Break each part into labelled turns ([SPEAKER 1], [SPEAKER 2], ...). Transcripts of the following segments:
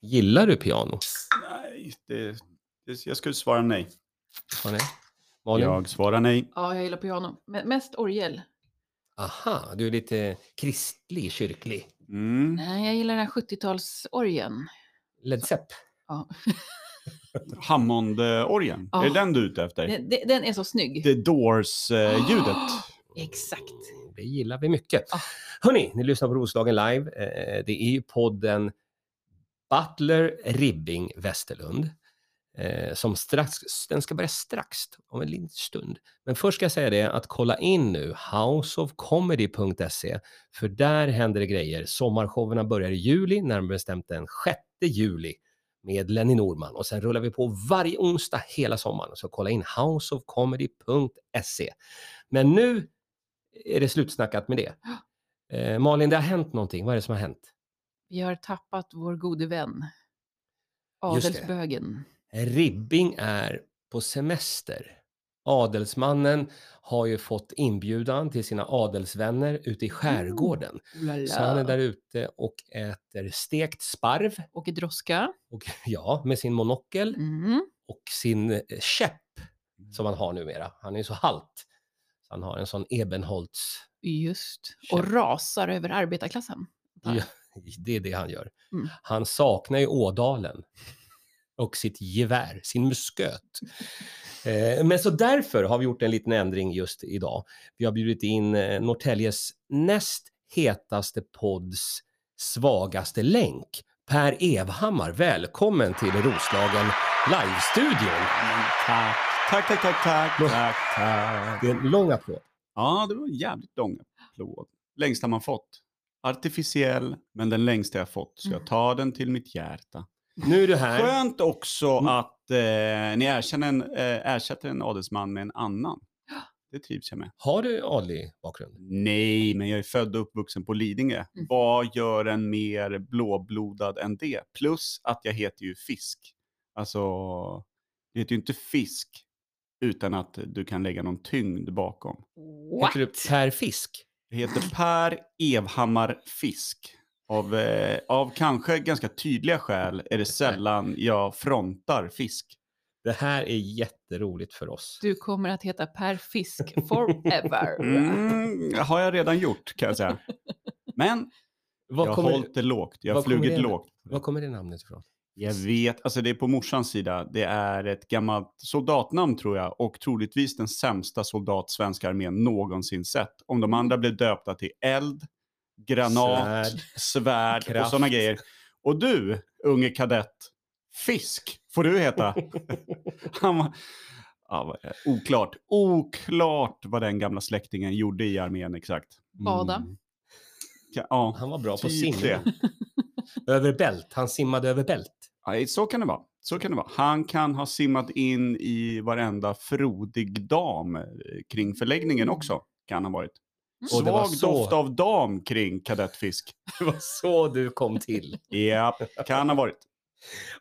[SPEAKER 1] Gillar du piano?
[SPEAKER 2] Nej, det, det, jag skulle svara nej.
[SPEAKER 1] Ja, nej. Malin?
[SPEAKER 2] Jag svarar nej.
[SPEAKER 3] Ja, jag gillar piano. Men mest orgel.
[SPEAKER 1] Aha, du är lite kristlig, kyrklig.
[SPEAKER 2] Mm.
[SPEAKER 3] Nej, jag gillar den här 70-talsorgeln.
[SPEAKER 1] Led Zepp.
[SPEAKER 2] Hammondorgeln,
[SPEAKER 3] Ja.
[SPEAKER 2] är det den du är ute efter?
[SPEAKER 3] Den, den- den är så snygg.
[SPEAKER 2] The Doors-ljudet.
[SPEAKER 3] Ah. Exakt.
[SPEAKER 1] Det gillar vi mycket.
[SPEAKER 3] Ja.
[SPEAKER 1] Hörni, ni lyssnar på Roslagen live. Eh, Det är ju podden Butler Ribbing Westerlund. eh, Som strax, den ska börja strax, om en liten stund. Men först ska jag säga det att kolla in nu houseofcomedy.se för där händer det grejer. Sommarshowerna börjar i juli, närmare bestämt den 6 juli med Lenny Norman och sen rullar vi på varje onsdag hela sommaren. Så kolla in houseofcomedy.se. Men nu är det slutsnackat med det. Eh, Malin, det har hänt någonting. Vad är det som har hänt?
[SPEAKER 3] Vi har tappat vår gode vän.
[SPEAKER 1] Just det.
[SPEAKER 3] Adelsbögen.
[SPEAKER 1] Ribbing är på semester. Adelsmannen har ju fått inbjudan till sina adelsvänner ute i skärgården.
[SPEAKER 3] Mm.
[SPEAKER 1] Så han är där ute och äter stekt sparv
[SPEAKER 3] Åker droska.
[SPEAKER 1] och, ja, med sin monokel
[SPEAKER 3] Mm.
[SPEAKER 1] och sin eh, käpp som han har numera. Han är ju så halt. Så han har en sån Ebenholts
[SPEAKER 3] Just. Och rasar över arbetarklassen.
[SPEAKER 1] Ja, Det är det han gör.
[SPEAKER 3] Mm.
[SPEAKER 1] Han saknar ju Ådalen och sitt gevär, sin musköt. Eh, Men så därför har vi gjort en liten ändring just idag. Vi har bjudit in eh, Norrtäljes näst hetaste podds svagaste länk, Per Evhammar. Välkommen till Roslagen live-studion.
[SPEAKER 2] Men Tack, tack, tack, tack, tack,
[SPEAKER 1] Då-
[SPEAKER 2] tack, tack.
[SPEAKER 1] Det är en lång applåd.
[SPEAKER 2] Ja, det var en jävligt lång applåd. Längsta man fått. Artificiell, men den längsta jag fått. Så jag tar den till mitt hjärta.
[SPEAKER 1] Nu är du här.
[SPEAKER 2] Skönt också
[SPEAKER 1] Mm.
[SPEAKER 2] att eh, ni erkänner en, eh, ersätter en adelsman med en annan. Det trivs jag med.
[SPEAKER 1] Har du adlig bakgrund?
[SPEAKER 2] Nej, men jag är född och uppvuxen på Lidingö.
[SPEAKER 3] Mm.
[SPEAKER 2] Vad gör en mer blåblodad än det? Plus att jag heter ju Fisk. Alltså, det heter ju inte Fisk utan att du kan lägga någon tyngd bakom.
[SPEAKER 3] What?
[SPEAKER 1] Heter du Per Fisk?
[SPEAKER 2] Det heter Per Evhammar Fisk. Av, eh, av kanske ganska tydliga skäl är det sällan jag frontar fisk.
[SPEAKER 1] Det här är jätteroligt för oss.
[SPEAKER 3] Du kommer att heta Per Fisk forever.
[SPEAKER 2] Mm, har jag redan gjort kan jag säga. Men jag
[SPEAKER 1] Vad
[SPEAKER 2] har
[SPEAKER 1] kommer,
[SPEAKER 2] hållit det lågt. Jag har
[SPEAKER 1] vad kommer
[SPEAKER 2] flugit
[SPEAKER 1] det-
[SPEAKER 2] lågt.
[SPEAKER 1] var kommer det namnet ifrån?
[SPEAKER 2] Jag vet, alltså det är på morsans sida. Det är ett gammalt soldatnamn tror jag och troligtvis den sämsta soldat svenska armén någonsin sett. Om de andra blev döpta till eld, granat,
[SPEAKER 1] Svärd.
[SPEAKER 2] svärd, och
[SPEAKER 1] Kraft.
[SPEAKER 2] sådana grejer. Och du, unge kadett, fisk får du heta. Han var, ja, vad- oklart, oklart vad den gamla släktingen gjorde i armén exakt. Mm.
[SPEAKER 3] Bada.
[SPEAKER 2] Ja, Ja,
[SPEAKER 1] Han var bra på
[SPEAKER 2] Typ
[SPEAKER 1] simning. över bält. Han simmade över bält.
[SPEAKER 2] Ja, så kan det vara. Så kan det vara. Han kan ha simmat in i varenda frodig dam eh, kring förläggningen också. Kan han varit.
[SPEAKER 1] Mm. Och det var
[SPEAKER 2] Svag
[SPEAKER 1] så-
[SPEAKER 2] doft av dam kring kadettfisk.
[SPEAKER 1] Det var så du kom till.
[SPEAKER 2] Ja, kan ha varit.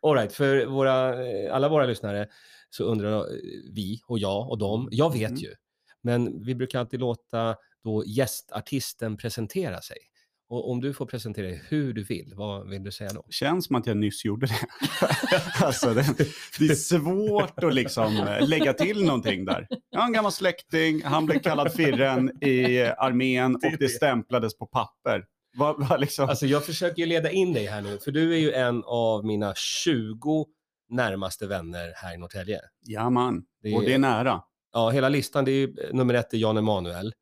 [SPEAKER 1] All right, för våra, eh, alla våra lyssnare så undrar eh, vi och jag och dem. Jag vet
[SPEAKER 2] Mhm.
[SPEAKER 1] ju, men vi brukar alltid låta då gästartisten presentera sig. Och om du får presentera dig hur du vill, vad vill du säga då?
[SPEAKER 2] Känns som att jag nyss gjorde det. alltså, det, det är svårt att liksom eh, lägga till någonting där. Jag har en gammal släkting, han blev kallad Firren i armén och det stämplades på papper. Vad vad liksom...
[SPEAKER 1] Alltså jag försöker ju leda in dig här nu, för du är ju en av mina 20 närmaste vänner här i Norrtälje.
[SPEAKER 2] ja, man.
[SPEAKER 1] Det
[SPEAKER 2] Och det är nära.
[SPEAKER 1] Ja, hela listan, det är ju eh, nummer ett är Jan Emanuel.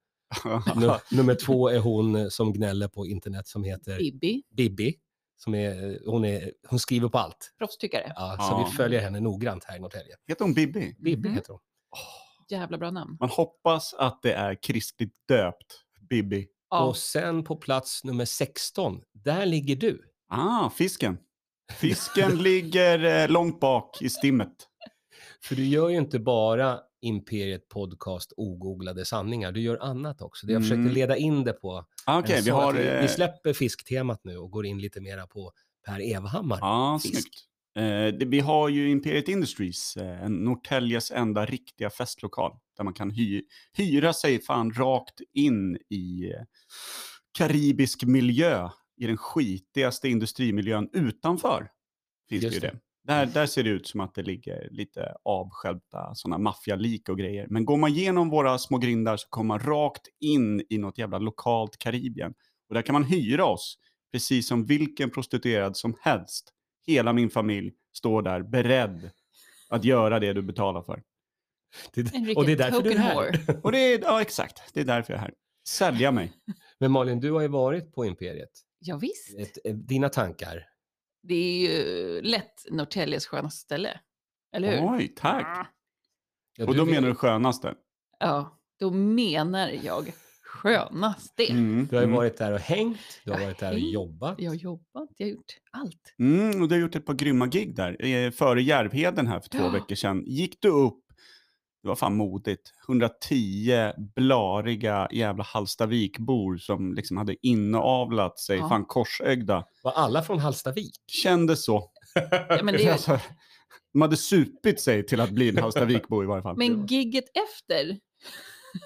[SPEAKER 1] Nu, nummer två är hon eh, som gnäller på internet som heter
[SPEAKER 3] Bibi,
[SPEAKER 1] Bibi. Som är, eh, hon, är, hon skriver på allt.
[SPEAKER 3] proffstyckare.
[SPEAKER 1] Ja,
[SPEAKER 2] Ja.
[SPEAKER 1] Så vi följer henne noggrant här i Norrtälje.
[SPEAKER 2] Heter hon Bibi?
[SPEAKER 1] Bibi
[SPEAKER 3] Mhm.
[SPEAKER 1] heter hon.
[SPEAKER 3] Jävla bra namn.
[SPEAKER 2] Man hoppas att det är kristligt döpt, Bibi.
[SPEAKER 3] Ja,
[SPEAKER 1] Och sen på plats nummer 16, där ligger du.
[SPEAKER 2] Ah, fisken. Fisken ligger eh, långt bak i stimmet.
[SPEAKER 1] För du gör ju inte bara Imperiet Podcast ogooglade sanningar, du gör annat också. Det Jag försökte
[SPEAKER 2] Mm.
[SPEAKER 1] leda in det på.
[SPEAKER 2] Ah, Okej,
[SPEAKER 1] Jag
[SPEAKER 2] vi
[SPEAKER 1] sa
[SPEAKER 2] har...
[SPEAKER 1] att vi,
[SPEAKER 2] eh,
[SPEAKER 1] vi släpper fisktemat nu och går in lite mera på Per Evhammar.
[SPEAKER 2] Ja,
[SPEAKER 1] fisk.
[SPEAKER 2] snyggt. Eh, det, vi har ju Imperiet Industries, eh, en Norrtäljes enda riktiga festlokal. Där man kan hy, hyra sig fan rakt in i eh, karibisk miljö. I den skitigaste industrimiljön utanför. finns
[SPEAKER 1] Just
[SPEAKER 2] det ju
[SPEAKER 1] det.
[SPEAKER 2] det. Där, där ser det ut som att det ligger lite avskälpta sådana maffialik och grejer. Men går man igenom våra små grindar så kommer man rakt in i något jävla lokalt Karibien. Och där kan man hyra oss, precis som vilken prostituerad som helst. Hela min familj står där beredd att göra det du betalar för.
[SPEAKER 1] Det,
[SPEAKER 3] Enrique
[SPEAKER 1] och det är därför du är här.
[SPEAKER 3] Tokenhore.
[SPEAKER 2] Och det är, ja exakt, det är därför jag är här. Sälja mig.
[SPEAKER 1] Men Malin, du har ju varit på Imperiet.
[SPEAKER 3] Ja, visst.
[SPEAKER 1] Ett, eh, dina tankar?
[SPEAKER 3] Det är ju lätt Norrtäljes skönaste ställe. Eller hur?
[SPEAKER 2] Oj, tack.
[SPEAKER 1] Ja,
[SPEAKER 2] Och då
[SPEAKER 1] vet-
[SPEAKER 2] menar du skönaste?
[SPEAKER 3] Ja, då menar jag skönaste.
[SPEAKER 2] Mm.
[SPEAKER 1] Du har ju
[SPEAKER 2] mm.
[SPEAKER 1] varit där och hängt, du har
[SPEAKER 3] Jag
[SPEAKER 1] varit där och
[SPEAKER 3] hängt,
[SPEAKER 1] jobbat.
[SPEAKER 3] Jag har jobbat, jag har gjort allt.
[SPEAKER 2] Mm, och du har gjort ett par grymma gig där. Eh, Före Järvheden här för två
[SPEAKER 3] Ja.
[SPEAKER 2] veckor sedan gick du upp, det var fan modigt, 110 blariga jävla Hallstavikbor som liksom hade inavlat sig,
[SPEAKER 3] Ja.
[SPEAKER 2] fan korsögda.
[SPEAKER 1] Var alla från Hallstavik?
[SPEAKER 2] Kändes så.
[SPEAKER 3] Ja, men, det är,
[SPEAKER 2] Alltså, de hade supit sig till att bli en Hallstavikbo i varje fall.
[SPEAKER 3] men gigget efter,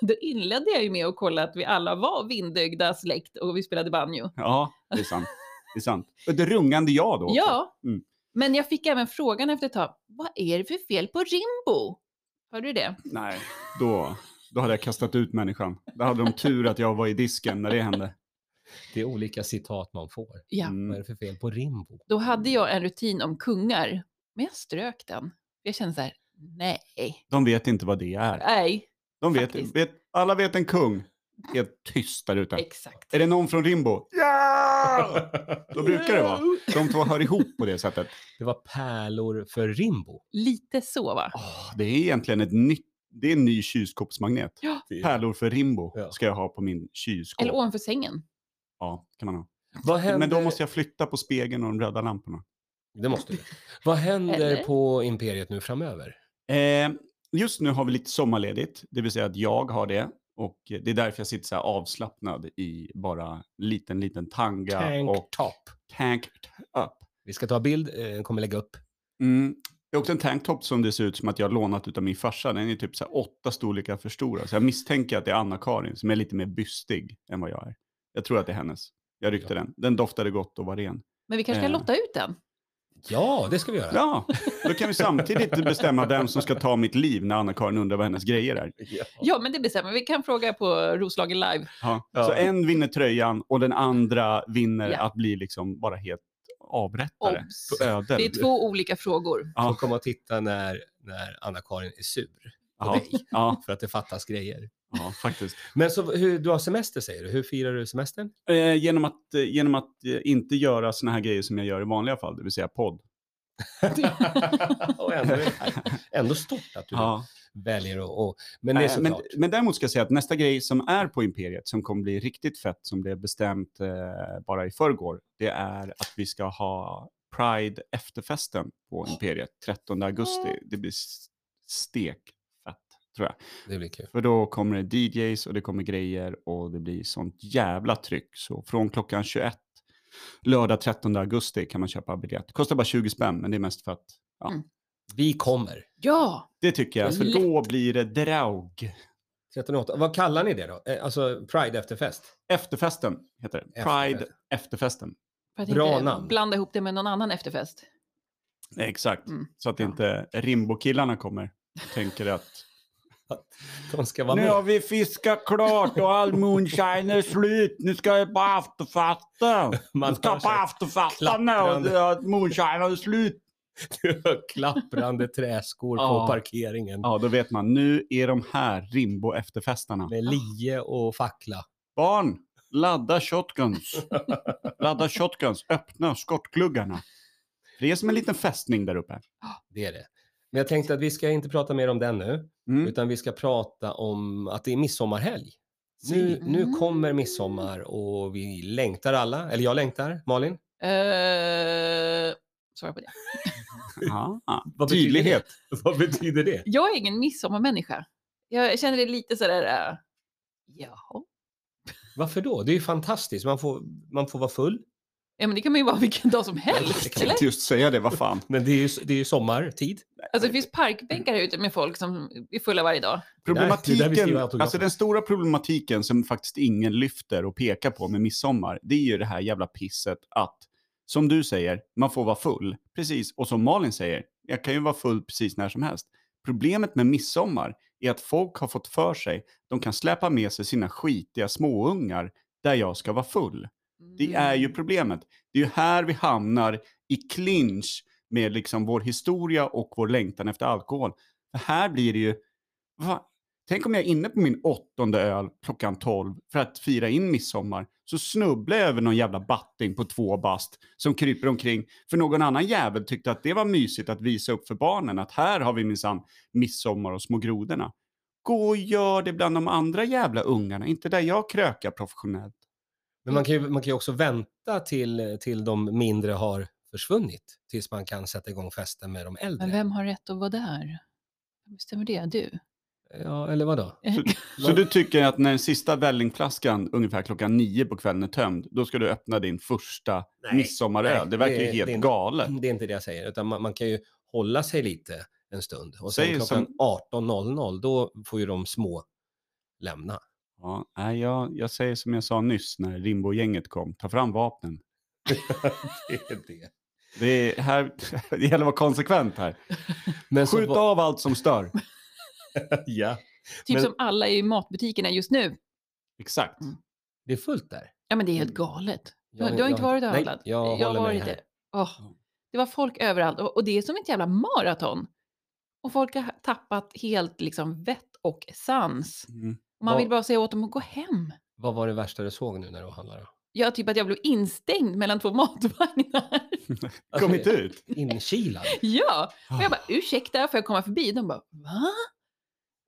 [SPEAKER 3] då inledde jag ju med att kolla att vi alla var vindögda släkt och vi spelade banjo.
[SPEAKER 2] Ja, det är sant. Det är sant. Och det rungande jag då. också.
[SPEAKER 3] Ja,
[SPEAKER 2] Mm.
[SPEAKER 3] men jag fick även frågan efter ett tag, vad är det för fel på Rimbo? Hörde du det?
[SPEAKER 2] Nej, då, då hade jag kastat ut människan. Då hade de tur att jag var i disken när det hände.
[SPEAKER 1] Det är olika citat man får.
[SPEAKER 3] Ja.
[SPEAKER 1] Vad är
[SPEAKER 2] Mm.
[SPEAKER 1] det för fel på Rimbo?
[SPEAKER 3] Då hade jag en rutin om kungar, men jag strök den. Jag kände så här, nej,
[SPEAKER 2] De vet inte vad det är.
[SPEAKER 3] nej,
[SPEAKER 2] De vet,
[SPEAKER 3] Faktiskt.
[SPEAKER 2] vet, alla vet en kung. Helt tyst där ute.
[SPEAKER 3] exakt.
[SPEAKER 2] Är det någon från Rimbo? Ja! Då brukar det vara. De två hör ihop på det sättet.
[SPEAKER 1] Det var pärlor för Rimbo.
[SPEAKER 3] Lite så va?
[SPEAKER 2] Åh, det är egentligen ett nytt, det är en ny kylskåpsmagnet. Pärlor för Rimbo
[SPEAKER 1] Ja.
[SPEAKER 2] ska jag ha på min kylskåp.
[SPEAKER 3] Eller ovanför sängen.
[SPEAKER 2] Ja, kan man ha.
[SPEAKER 1] Vad händer...
[SPEAKER 2] Men då måste jag flytta på spegeln och de röda lamporna.
[SPEAKER 1] Det måste du. Vad händer
[SPEAKER 3] Eller?
[SPEAKER 1] på Imperiet nu framöver?
[SPEAKER 2] Eh, just nu har vi lite sommarledigt, det vill säga att jag har det. Och det är därför jag sitter så här avslappnad i bara liten, liten tanga
[SPEAKER 1] Tank
[SPEAKER 2] och
[SPEAKER 1] top.
[SPEAKER 2] tank up.
[SPEAKER 1] Vi ska ta bild, eh, kommer lägga upp.
[SPEAKER 2] Mm. Det är också en tanktop som det ser ut som att jag har lånat utav min farsa. Den är typ så här åtta storlekar för stor. Så jag misstänker att det är Anna-Karin som är lite mer bystig än vad jag är. Jag tror att det är hennes. Jag ryckte
[SPEAKER 1] Ja.
[SPEAKER 2] den. Den doftade gott och var ren.
[SPEAKER 3] Men vi kanske kan
[SPEAKER 2] Eh.
[SPEAKER 3] lotta ut den?
[SPEAKER 1] Ja, det ska vi göra.
[SPEAKER 2] Ja, då kan vi samtidigt bestämma vem som ska ta mitt liv när Anna-Karin undrar vad hennes grejer är.
[SPEAKER 3] Ja, men det bestämmer vi. Vi kan fråga på Roslagen live.
[SPEAKER 2] Ja.
[SPEAKER 1] Ja.
[SPEAKER 2] Så en vinner tröjan och den andra vinner
[SPEAKER 3] Ja.
[SPEAKER 2] att bli liksom bara helt avrättare.
[SPEAKER 3] Obs!
[SPEAKER 2] Ödel.
[SPEAKER 3] Det är två olika frågor.
[SPEAKER 1] Får
[SPEAKER 2] Ja.
[SPEAKER 1] komma och titta när, när Anna-Karin är sur på
[SPEAKER 2] Ja.
[SPEAKER 1] dig
[SPEAKER 2] Ja,
[SPEAKER 1] för att det fattas grejer.
[SPEAKER 2] ja, faktiskt.
[SPEAKER 1] Men så, hur, du har semester säger du. Hur firar du semestern?
[SPEAKER 2] Eh, genom att, eh, genom att eh, inte göra såna här grejer som jag gör i vanliga fall, det vill säga podd.
[SPEAKER 1] och ändå, ändå stort att du
[SPEAKER 2] Ja.
[SPEAKER 1] väljer att... Och, men det är
[SPEAKER 2] Eh, men,
[SPEAKER 1] såklart.
[SPEAKER 2] men däremot ska jag säga att nästa grej som är på Imperiet som kommer bli riktigt fett som blev bestämt eh, bara i förrgår, det är att vi ska ha Pride efterfesten på Imperiet 13 augusti.
[SPEAKER 1] Mm.
[SPEAKER 2] Det blir s- stekfett tror jag.
[SPEAKER 1] Det blir kul.
[SPEAKER 2] För då kommer det DJs och det kommer grejer och det blir sånt jävla tryck. Så från klockan 21 lördag 13 augusti kan man köpa biljett. Kostar bara 20 spänn men det är mest för att ja.
[SPEAKER 3] Mm.
[SPEAKER 1] Vi kommer.
[SPEAKER 3] Ja,
[SPEAKER 2] Det tycker jag, för
[SPEAKER 3] Lätt.
[SPEAKER 2] då blir det draug.
[SPEAKER 1] 13.08. Vad kallar ni det då? Eh, Alltså Pride efterfest?
[SPEAKER 2] Efterfesten heter det. Pride
[SPEAKER 1] Efterfest.
[SPEAKER 2] efterfesten.
[SPEAKER 3] för att
[SPEAKER 1] Bra
[SPEAKER 3] inte
[SPEAKER 1] namn.
[SPEAKER 3] blanda ihop det med någon annan efterfest.
[SPEAKER 2] Exakt.
[SPEAKER 3] Mm.
[SPEAKER 2] Så att
[SPEAKER 3] Ja.
[SPEAKER 2] inte Rimbo-killarna kommer och tänker att
[SPEAKER 1] De ska vara
[SPEAKER 2] nu
[SPEAKER 1] med.
[SPEAKER 2] har vi fiskat klart och all moonshine är slut. Nu ska jag på afterfesten.
[SPEAKER 1] Man
[SPEAKER 2] Man
[SPEAKER 1] hör så
[SPEAKER 2] ska på
[SPEAKER 1] här
[SPEAKER 2] afterfesten nu och det- och moonshine är slut.
[SPEAKER 1] klapprande träskor på
[SPEAKER 2] Ja.
[SPEAKER 1] parkeringen.
[SPEAKER 2] Ja, då vet man. Nu är de här, Rimbo-efterfestarna.
[SPEAKER 1] Med lie och fackla.
[SPEAKER 2] Barn, ladda shotguns. ladda shotguns. Öppna skottgluggarna. Det är som en liten fästning där uppe.
[SPEAKER 1] Det är det. Men jag tänkte att vi ska inte prata mer om den nu,
[SPEAKER 2] Mm.
[SPEAKER 1] utan vi ska prata om att det är midsommarhelg. Nu,
[SPEAKER 2] Si.
[SPEAKER 1] nu kommer midsommar och vi längtar alla, eller jag längtar, Malin.
[SPEAKER 3] Eh, svara på det.
[SPEAKER 2] Ja.
[SPEAKER 1] Vad betyder
[SPEAKER 2] Tydlighet.
[SPEAKER 1] det? Vad betyder det?
[SPEAKER 3] Jag är ingen midsommarmänniska. Jag känner det lite sådär, uh, jaha.
[SPEAKER 1] Varför då? Det är ju fantastiskt. Man får, man får vara full.
[SPEAKER 3] Ja, men det kan man ju vara vilken dag som
[SPEAKER 1] Det
[SPEAKER 3] helst.
[SPEAKER 1] kan man
[SPEAKER 3] Eller?
[SPEAKER 2] Tänkte just säga det, vad fan.
[SPEAKER 1] Men det är ju, det är ju sommartid.
[SPEAKER 3] Alltså, det finns parkbänkar här ute med folk som är fulla varje dag.
[SPEAKER 1] där- det är där vi
[SPEAKER 2] Problematiken,
[SPEAKER 1] skriver autografer.
[SPEAKER 2] alltså den stora problematiken som faktiskt ingen lyfter och pekar på med midsommar, det är ju det här jävla pisset att Som du säger, man får vara full. Precis, och som Malin säger, jag kan ju vara full precis när som helst. Problemet med midsommar är att folk har fått för sig, de kan släpa med sig sina skitiga småungar där jag ska vara full. Det är ju problemet. Det är ju här vi hamnar i clinch med liksom vår historia och vår längtan efter alkohol. För här blir det ju... Va? Tänk om jag är inne på min åttonde öl klockan 12 för att fira in midsommar. Så snubblar jag över någon jävla batting på två bast som kryper omkring. För någon annan jävel tyckte att det var mysigt att visa upp för barnen att här har vi minsann midsommar och små grodorna. Gå och gör det bland de andra jävla ungarna, inte där jag krökar professionellt.
[SPEAKER 1] Men man kan ju, man kan ju också vänta till, till de mindre har försvunnit tills man kan sätta igång festen med de äldre.
[SPEAKER 3] Men vem har rätt att vara där? Vem bestämmer det? Du?
[SPEAKER 1] Ja, eller vadå?
[SPEAKER 2] Så du tycker att när den sista vällingflaskan ungefär klockan nio på kvällen är tömd, då ska du öppna din första
[SPEAKER 1] Nej, nej,
[SPEAKER 2] midsommaröl? Det verkar
[SPEAKER 1] det-
[SPEAKER 2] ju helt
[SPEAKER 1] det är Mm. inte-
[SPEAKER 2] galet.
[SPEAKER 1] Det är inte det jag säger, utan man, man kan ju hålla sig lite en stund. Och sen
[SPEAKER 2] Säg
[SPEAKER 1] klockan
[SPEAKER 2] som-
[SPEAKER 1] 18.00, då får ju de små lämna.
[SPEAKER 2] Ja, nej, jag, jag säger som jag sa nyss när Rimbo-gänget kom, ta fram vapnen.
[SPEAKER 1] det är det.
[SPEAKER 2] Det, är här, det gäller att vara konsekvent här.
[SPEAKER 1] Men
[SPEAKER 2] Skjut
[SPEAKER 1] så,
[SPEAKER 2] av allt som stör.
[SPEAKER 1] ja.
[SPEAKER 3] Typ
[SPEAKER 1] Men-
[SPEAKER 3] som alla i matbutikerna just nu.
[SPEAKER 2] Exakt.
[SPEAKER 1] Mm. Det är fullt där.
[SPEAKER 3] Ja, men det är helt galet. Du, har-
[SPEAKER 1] Mm. Jag-
[SPEAKER 3] du har inte
[SPEAKER 1] jag-
[SPEAKER 3] varit och
[SPEAKER 1] nej,
[SPEAKER 3] handlat?
[SPEAKER 1] jag håller
[SPEAKER 3] har
[SPEAKER 1] mig
[SPEAKER 3] varit
[SPEAKER 1] här.
[SPEAKER 3] det. Åh, det var folk överallt och, och det är som ett jävla maraton. Och folk har tappat helt liksom vett och sans.
[SPEAKER 2] Mm.
[SPEAKER 3] Och man
[SPEAKER 1] Vad-
[SPEAKER 3] vill bara säga åt dem att gå hem.
[SPEAKER 1] Vad var det värsta du såg nu när du handlade?
[SPEAKER 3] Jag typ att jag blev instängd mellan två matvagnar.
[SPEAKER 1] Alltså,
[SPEAKER 2] Kom inte ut.
[SPEAKER 1] Inkilad.
[SPEAKER 3] ja, och jag bara ursäkta, får jag komma förbi? De bara va?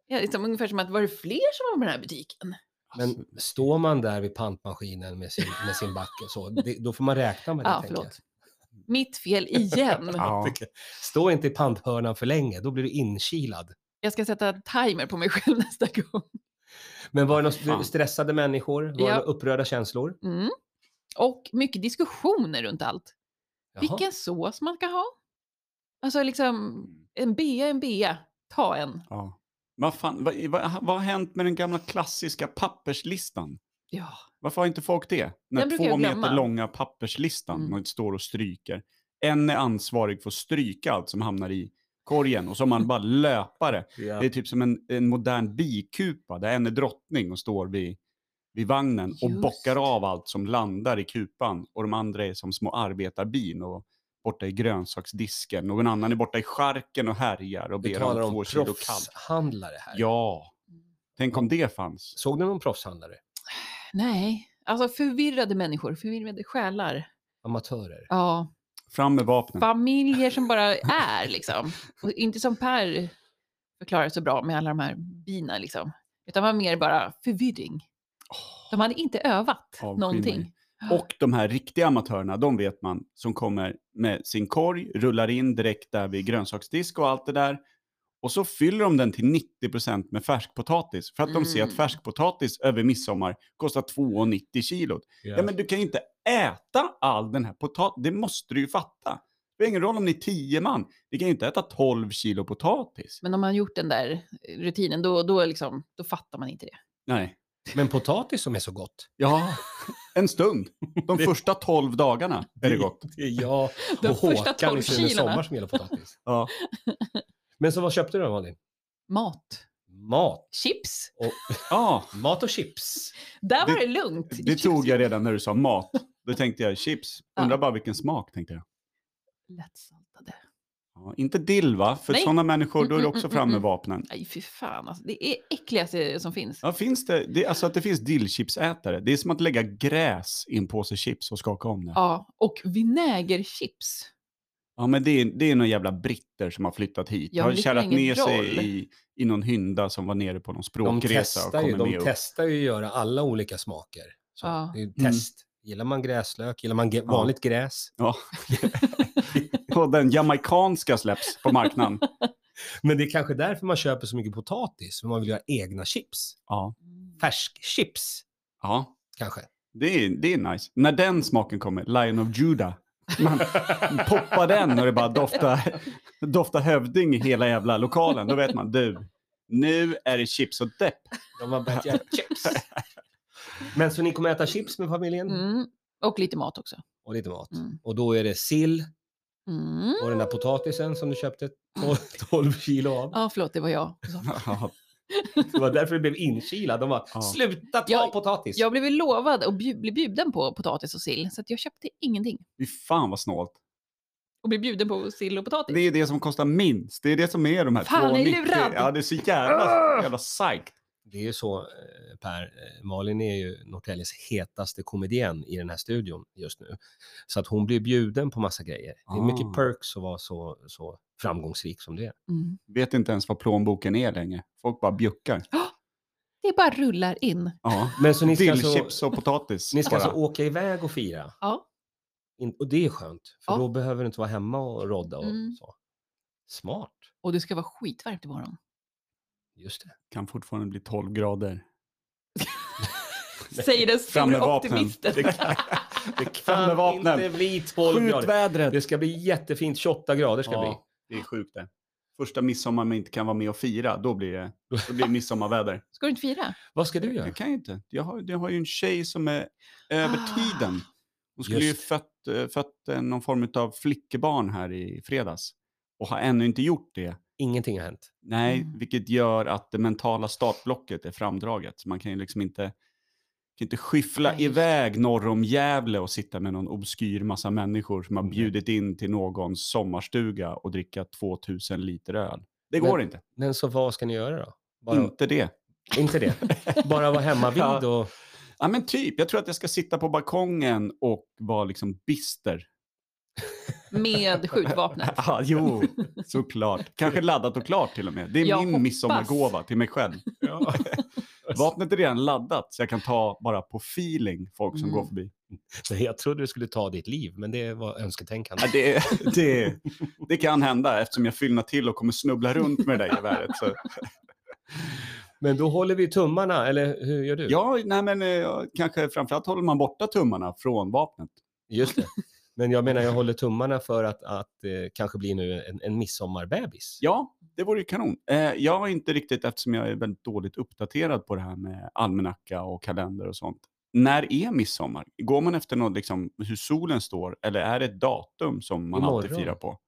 [SPEAKER 3] Ja, liksom, ungefär som att var det fler som var med den här butiken?
[SPEAKER 2] Alltså,
[SPEAKER 1] Men står man där vid pantmaskinen med sin, med sin back och så, det, då får man räkna med det.
[SPEAKER 3] Ja,
[SPEAKER 1] tänker jag.
[SPEAKER 3] förlåt. Mitt fel igen.
[SPEAKER 2] Ja.
[SPEAKER 1] Stå inte i panthörnan för länge, då blir du inkilad.
[SPEAKER 3] Jag ska sätta timer på mig själv nästa gång.
[SPEAKER 1] Men var det några
[SPEAKER 2] Fan.
[SPEAKER 1] stressade människor? Var det
[SPEAKER 3] Ja.
[SPEAKER 1] några upprörda känslor?
[SPEAKER 3] Mm. Och mycket diskussioner runt allt.
[SPEAKER 1] Jaha.
[SPEAKER 3] Vilken sås man ska ha. Alltså liksom, en bea är en bea. Ta en.
[SPEAKER 2] ja. Vad, fan, vad, vad, vad har hänt med den gamla klassiska papperslistan?
[SPEAKER 3] Ja.
[SPEAKER 2] Varför har inte folk det?
[SPEAKER 3] Den
[SPEAKER 2] Den
[SPEAKER 3] brukar
[SPEAKER 2] två
[SPEAKER 3] jag
[SPEAKER 2] meter
[SPEAKER 3] glömma.
[SPEAKER 2] långa papperslistan
[SPEAKER 3] Mm.
[SPEAKER 2] man står och stryker. En är ansvarig för att stryka allt som hamnar i korgen och så har man bara löpare.
[SPEAKER 1] Ja.
[SPEAKER 2] Det är typ som en, en modern bikupa där en är drottning och står vid, vid vagnen och
[SPEAKER 3] Just.
[SPEAKER 2] bockar av allt som landar i kupan och de andra är som små arbetarbin och borta i grönsaksdisken. Någon annan är borta i skärken och härjar och
[SPEAKER 1] Vi
[SPEAKER 2] ber
[SPEAKER 1] talar
[SPEAKER 2] om två
[SPEAKER 1] om
[SPEAKER 2] kilo kallt.
[SPEAKER 1] proffshandlare här.
[SPEAKER 2] Ja, tänk om det fanns.
[SPEAKER 1] Såg du någon proffshandlare?
[SPEAKER 3] Nej, alltså förvirrade människor, förvirrade själar.
[SPEAKER 1] Amatörer?
[SPEAKER 3] Ja,
[SPEAKER 2] Fram med vapnen.
[SPEAKER 3] familjer som bara är liksom. Och inte som Per förklarar så bra med alla de här bina liksom. Utan var mer bara förvirring. De hade inte övat
[SPEAKER 2] Avsky mig.
[SPEAKER 3] någonting.
[SPEAKER 2] Och de här riktiga amatörerna, de vet man, som kommer med sin korg, rullar in direkt där vid grönsaksdisk och allt det där. Och så fyller de den till 90% med färskpotatis. För att de ser att
[SPEAKER 3] Mm.
[SPEAKER 2] färskpotatis över midsommar kostar 2,90 kilot. Ja. men du kan ju inte äta all den här potatisen. Det måste du ju fatta. Det spelar ingen roll om ni är 10 man. Ni kan ju inte äta 12 kilo potatis.
[SPEAKER 3] Men om man gjort den där rutinen, då, då, liksom, då fattar man inte det.
[SPEAKER 2] Nej.
[SPEAKER 1] Men potatis som är så gott.
[SPEAKER 2] Ja, en stund. De första 12 dagarna är det gott.
[SPEAKER 1] Det är jag
[SPEAKER 3] De
[SPEAKER 1] och
[SPEAKER 3] första
[SPEAKER 1] Håkan i
[SPEAKER 3] 12
[SPEAKER 1] Sune
[SPEAKER 3] kilona.
[SPEAKER 1] Sommar som gillar potatis.
[SPEAKER 2] Ja.
[SPEAKER 1] Men så vad köpte du då Malin?
[SPEAKER 3] Mat,
[SPEAKER 1] Mat.
[SPEAKER 3] chips,
[SPEAKER 2] ja.
[SPEAKER 1] Mat och chips.
[SPEAKER 3] där var
[SPEAKER 2] Det-
[SPEAKER 3] det, lugnt.
[SPEAKER 2] Det tog jag redan när du sa mat. Då tänkte jag chips. Undrar bara vilken smak tänkte jag.
[SPEAKER 3] Lättsaltade.
[SPEAKER 2] Ja, inte dill va? För
[SPEAKER 3] Nej.
[SPEAKER 2] sådana människor, då är det också
[SPEAKER 3] Mm,
[SPEAKER 2] fram med
[SPEAKER 3] mm,
[SPEAKER 2] vapnen.
[SPEAKER 3] Nej, fy fan alltså. Det är äckligaste som finns.
[SPEAKER 2] Ja, finns det, det, alltså att det finns dillchipsätare. Det är som att lägga gräs i en påse chips och skaka om det. Ja,
[SPEAKER 3] Ja, och vinägerchips.
[SPEAKER 2] men det är, det är några jävla britter som har flyttat hit.
[SPEAKER 3] Ja,
[SPEAKER 2] har
[SPEAKER 3] men det spelar
[SPEAKER 2] kärrat
[SPEAKER 3] ingen
[SPEAKER 2] ner sig
[SPEAKER 3] roll.
[SPEAKER 2] i, i någon hynda som var nere på någon
[SPEAKER 1] De
[SPEAKER 2] språkresa och
[SPEAKER 1] testar, ju,
[SPEAKER 2] kommer
[SPEAKER 1] de
[SPEAKER 2] med upp.
[SPEAKER 1] testar ju att göra alla olika smaker. Så,
[SPEAKER 3] Ja.
[SPEAKER 1] Det är ju test. Gillar man gräslök? Gillar man ge-
[SPEAKER 2] Mm. Ja.
[SPEAKER 1] vanligt gräs?
[SPEAKER 2] Ja. och den jamaikanska släpps på marknaden.
[SPEAKER 1] Men det är kanske därför man köper så mycket potatis, för man vill göra egna chips.
[SPEAKER 2] Ja,
[SPEAKER 1] Färskchips,
[SPEAKER 2] ja.
[SPEAKER 1] kanske.
[SPEAKER 2] Det är, det är nice. När den smaken kommer, Lion of Judah. Man poppar den och det bara doftar, doftar hövding i hela jävla lokalen. Då vet man, du, nu är det chips och depp.
[SPEAKER 1] De har börjat göra chips. Men så ni kommer äta chips med familjen?
[SPEAKER 3] Mm. Och lite mat också.
[SPEAKER 1] och lite mat.
[SPEAKER 3] Mm.
[SPEAKER 1] Och då är det sill
[SPEAKER 3] Mm.
[SPEAKER 1] och den där potatisen som du köpte 12, 12 kilo av.
[SPEAKER 3] Ja, förlåt, det var jag.
[SPEAKER 2] Ja,
[SPEAKER 1] Det var därför det blev inkilad. De bara,
[SPEAKER 2] Ja.
[SPEAKER 1] sluta ta
[SPEAKER 3] Jag-
[SPEAKER 1] potatis.
[SPEAKER 3] Jag blev ju lovad och bju- blev bjuden på potatis och sill, så att jag köpte ingenting.
[SPEAKER 2] fy fan vad snålt.
[SPEAKER 3] Och blev bjuden på sill och potatis.
[SPEAKER 2] Det är det som kostar minst. Det är det som är de här
[SPEAKER 3] Fan, jag är
[SPEAKER 2] 2,90.
[SPEAKER 3] lurad.
[SPEAKER 2] Ja, det är så
[SPEAKER 1] Ah!
[SPEAKER 2] jävla, jävla psyched.
[SPEAKER 1] Det är ju så, eh, Per. eh, Malin är ju Norrtäljes hetaste komedienn i den här studion just nu. Så att hon blir bjuden på massa grejer. Det är
[SPEAKER 2] Ah.
[SPEAKER 1] mycket perks att vara så, så framgångsrik som det är.
[SPEAKER 3] Mm.
[SPEAKER 2] Vet inte ens vad plånboken är längre. Folk bara bjuckar.
[SPEAKER 3] Det bara rullar in.
[SPEAKER 2] Ja.
[SPEAKER 1] Men så ni ska,
[SPEAKER 2] Dillchips
[SPEAKER 1] alltså,
[SPEAKER 2] och potatis.
[SPEAKER 1] ni ska
[SPEAKER 2] bara.
[SPEAKER 1] alltså åka iväg och fira?
[SPEAKER 3] Ja.
[SPEAKER 1] In, och det är skönt, för
[SPEAKER 3] Ja.
[SPEAKER 1] då behöver du inte vara hemma och rodda och
[SPEAKER 3] Mm.
[SPEAKER 1] så. Smart.
[SPEAKER 3] Och det ska vara skitvarmt imorgon.
[SPEAKER 1] Just det.
[SPEAKER 2] Kan fortfarande bli 12 grader.
[SPEAKER 3] Säger den
[SPEAKER 2] Fram med
[SPEAKER 3] stora
[SPEAKER 2] vapnen.
[SPEAKER 3] optimisten.
[SPEAKER 2] Det kan- Det kan med vapnen.
[SPEAKER 1] inte bli 12
[SPEAKER 2] Skjut
[SPEAKER 1] grader.
[SPEAKER 2] vädret.
[SPEAKER 1] Det ska bli jättefint, 28 grader ska det bli.
[SPEAKER 2] Ja, det är sjukt det. Första midsommar man inte kan vara med och fira, då blir det, då blir det midsommarväder.
[SPEAKER 3] Ska du inte fira?
[SPEAKER 1] Vad ska du göra?
[SPEAKER 2] Jag kan ju inte. Jag har, jag har ju en tjej som är över
[SPEAKER 3] Ah.
[SPEAKER 2] tiden. Hon skulle
[SPEAKER 1] Just
[SPEAKER 2] ju fött, eh, fött eh, någon form av flickebarn här i fredags och har ännu inte gjort det.
[SPEAKER 1] Ingenting har hänt.
[SPEAKER 2] Nej,
[SPEAKER 3] Mm.
[SPEAKER 2] vilket gör att det mentala startblocket är framdraget. Så man kan ju liksom inte, kan inte skyffla
[SPEAKER 3] Nej, just det.
[SPEAKER 2] iväg norr om Gävle och sitta med någon obskyr massa människor som har
[SPEAKER 3] Mm.
[SPEAKER 1] Nej.
[SPEAKER 2] bjudit in till någons sommarstuga och dricka 2000 liter öl. Det
[SPEAKER 1] Men-
[SPEAKER 2] går inte.
[SPEAKER 1] Men så vad ska ni göra då? Bara,
[SPEAKER 2] Inte det.
[SPEAKER 1] Inte det? Bara vara hemma vid och...
[SPEAKER 2] Ja, men typ. Jag tror att jag ska sitta på balkongen och vara liksom bister.
[SPEAKER 3] Med skjutvapnet.
[SPEAKER 2] Ah, jo, såklart. Kanske laddat och klart till och med. Det är
[SPEAKER 3] Jag
[SPEAKER 2] min
[SPEAKER 3] hoppas.
[SPEAKER 2] midsommargåva till mig själv. Vapnet är redan laddat så jag kan ta bara på feeling folk som
[SPEAKER 3] Mm.
[SPEAKER 2] går förbi.
[SPEAKER 1] Nej, Jag trodde du skulle ta ditt liv, men det var önsketänkande.
[SPEAKER 2] Ja, det, det, det kan hända eftersom jag fyllnar till och kommer snubbla runt med det där geväret. Så.
[SPEAKER 1] Men då håller vi tummarna, eller hur gör du?
[SPEAKER 2] Ja, nej, men eh, kanske framförallt håller man borta tummarna från vapnet.
[SPEAKER 1] Just det. Men jag menar, jag håller tummarna för att, att eh, kanske bli nu en, en midsommarbebis.
[SPEAKER 2] Ja, det vore ju kanon. Eh, jag har inte riktigt, eftersom jag är väldigt dåligt uppdaterad på det här med almanacka och kalender och sånt. När är midsommar? Går man efter något, liksom, hur solen står eller är det ett datum som man alltid
[SPEAKER 1] Imorgon.
[SPEAKER 2] firar på?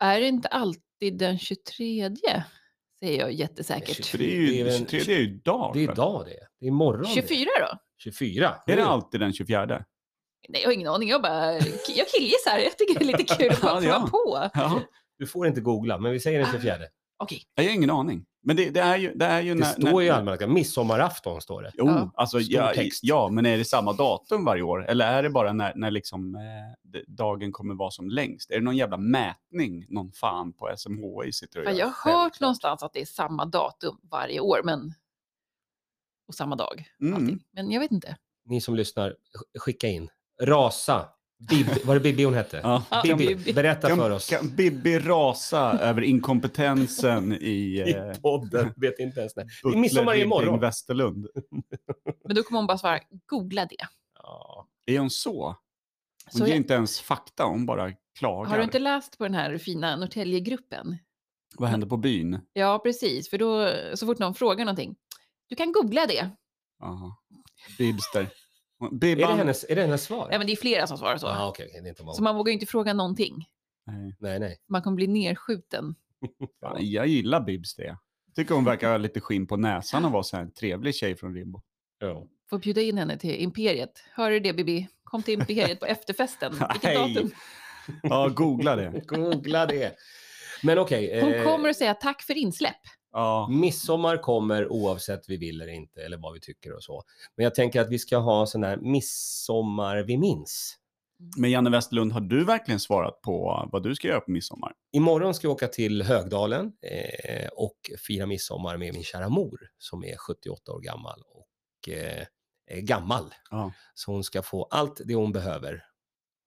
[SPEAKER 3] Är det inte alltid den 23? Säger jag jättesäkert.
[SPEAKER 2] För det är ju,
[SPEAKER 1] Det är väl-
[SPEAKER 2] 23 det är ju idag.
[SPEAKER 1] Det är
[SPEAKER 2] väl?
[SPEAKER 1] idag det. Det är imorgon. det.
[SPEAKER 3] 24 då?
[SPEAKER 1] 24.
[SPEAKER 2] Är det
[SPEAKER 1] Mm.
[SPEAKER 2] alltid den 24?
[SPEAKER 3] Nej, jag har ingen aning. Jag bara, jag killgissar. Jag tycker det är lite kul att
[SPEAKER 2] Ja,
[SPEAKER 3] bara prova
[SPEAKER 2] ja.
[SPEAKER 3] på.
[SPEAKER 2] Ja,
[SPEAKER 1] Du får inte googla, men vi säger den 24.
[SPEAKER 3] Okej,
[SPEAKER 2] jag har ingen aning. Men det, det är ju... Det, är ju
[SPEAKER 1] Det
[SPEAKER 2] när,
[SPEAKER 1] står
[SPEAKER 2] när,
[SPEAKER 1] i almanackan, midsommarafton står det.
[SPEAKER 2] Jo,
[SPEAKER 3] Ja.
[SPEAKER 2] alltså,
[SPEAKER 1] Stor
[SPEAKER 2] ja,
[SPEAKER 1] text.
[SPEAKER 2] ja, men är det samma datum varje år? Eller är det bara när, när liksom, eh, d- dagen kommer vara som längst? Är det någon jävla mätning någon fan på SMHI sitter och
[SPEAKER 3] Fan,
[SPEAKER 2] gör? liksom?
[SPEAKER 3] jag har hört
[SPEAKER 2] Självklart.
[SPEAKER 3] någonstans att det är samma datum varje år, men och samma dag. allting.
[SPEAKER 2] Mm.
[SPEAKER 3] Men jag vet inte.
[SPEAKER 1] Ni som lyssnar, sk- skicka in. Rasa. Bib, var det Bibi hon hette?
[SPEAKER 2] Ja.
[SPEAKER 3] Ja,
[SPEAKER 2] Kan,
[SPEAKER 1] Bibi,
[SPEAKER 3] Bibi.
[SPEAKER 1] berätta för
[SPEAKER 2] kan,
[SPEAKER 1] oss.
[SPEAKER 2] kan Bibi rasa över inkompetensen i eh,
[SPEAKER 1] I podden, vet inte ens när.
[SPEAKER 2] Butler
[SPEAKER 1] midsommar
[SPEAKER 2] Ribbing
[SPEAKER 1] imorgon.
[SPEAKER 2] Västerlund.
[SPEAKER 3] Men då kommer hon bara svara, googla det.
[SPEAKER 1] Ja.
[SPEAKER 2] Är hon så? Hon
[SPEAKER 3] Så
[SPEAKER 2] ger
[SPEAKER 3] jag,
[SPEAKER 2] inte ens fakta, hon bara klagar.
[SPEAKER 3] har du inte läst på den här fina Norrtäljegruppen?
[SPEAKER 2] Vad händer på byn?
[SPEAKER 3] Ja, precis. För då, så fort någon frågar någonting, du kan googla det.
[SPEAKER 2] Aha. Bibster.
[SPEAKER 1] Är, det
[SPEAKER 2] Bibban.
[SPEAKER 1] hennes, är det hennes svar?
[SPEAKER 3] Nej, men det är flera som svarar så.
[SPEAKER 1] ah, okej, okej, det är inte
[SPEAKER 3] Så
[SPEAKER 1] många.
[SPEAKER 3] man vågar ju inte fråga någonting.
[SPEAKER 2] Nej.
[SPEAKER 1] Nej, nej.
[SPEAKER 3] Man kommer bli nerskjuten.
[SPEAKER 2] Fan, Jag gillar Bibs det. Tycker hon verkar ha lite skinn på näsan och vara så här en trevlig tjej från Rimbo.
[SPEAKER 1] Ja.
[SPEAKER 3] Får bjuda in henne till Imperiet. Hör du det, Bibi? Kom till Imperiet på efterfesten. Vilket
[SPEAKER 2] Nej.
[SPEAKER 3] datum?
[SPEAKER 2] Ja, googla det.
[SPEAKER 1] Googla det. Men okej,
[SPEAKER 3] Hon
[SPEAKER 1] eh,
[SPEAKER 3] kommer att säga tack för insläpp.
[SPEAKER 2] Ja.
[SPEAKER 1] midsommar kommer oavsett vi vill eller inte eller vad vi tycker och så. Men jag tänker att vi ska ha sån här midsommar vi minns.
[SPEAKER 2] Men Janne Westerlund, har du verkligen svarat på vad du ska göra på midsommar?
[SPEAKER 1] Imorgon ska jag åka till Högdalen eh, och fira midsommar med min kära mor som är 78 år gammal och eh, är gammal.
[SPEAKER 2] Ja.
[SPEAKER 1] Så hon ska få allt det hon behöver.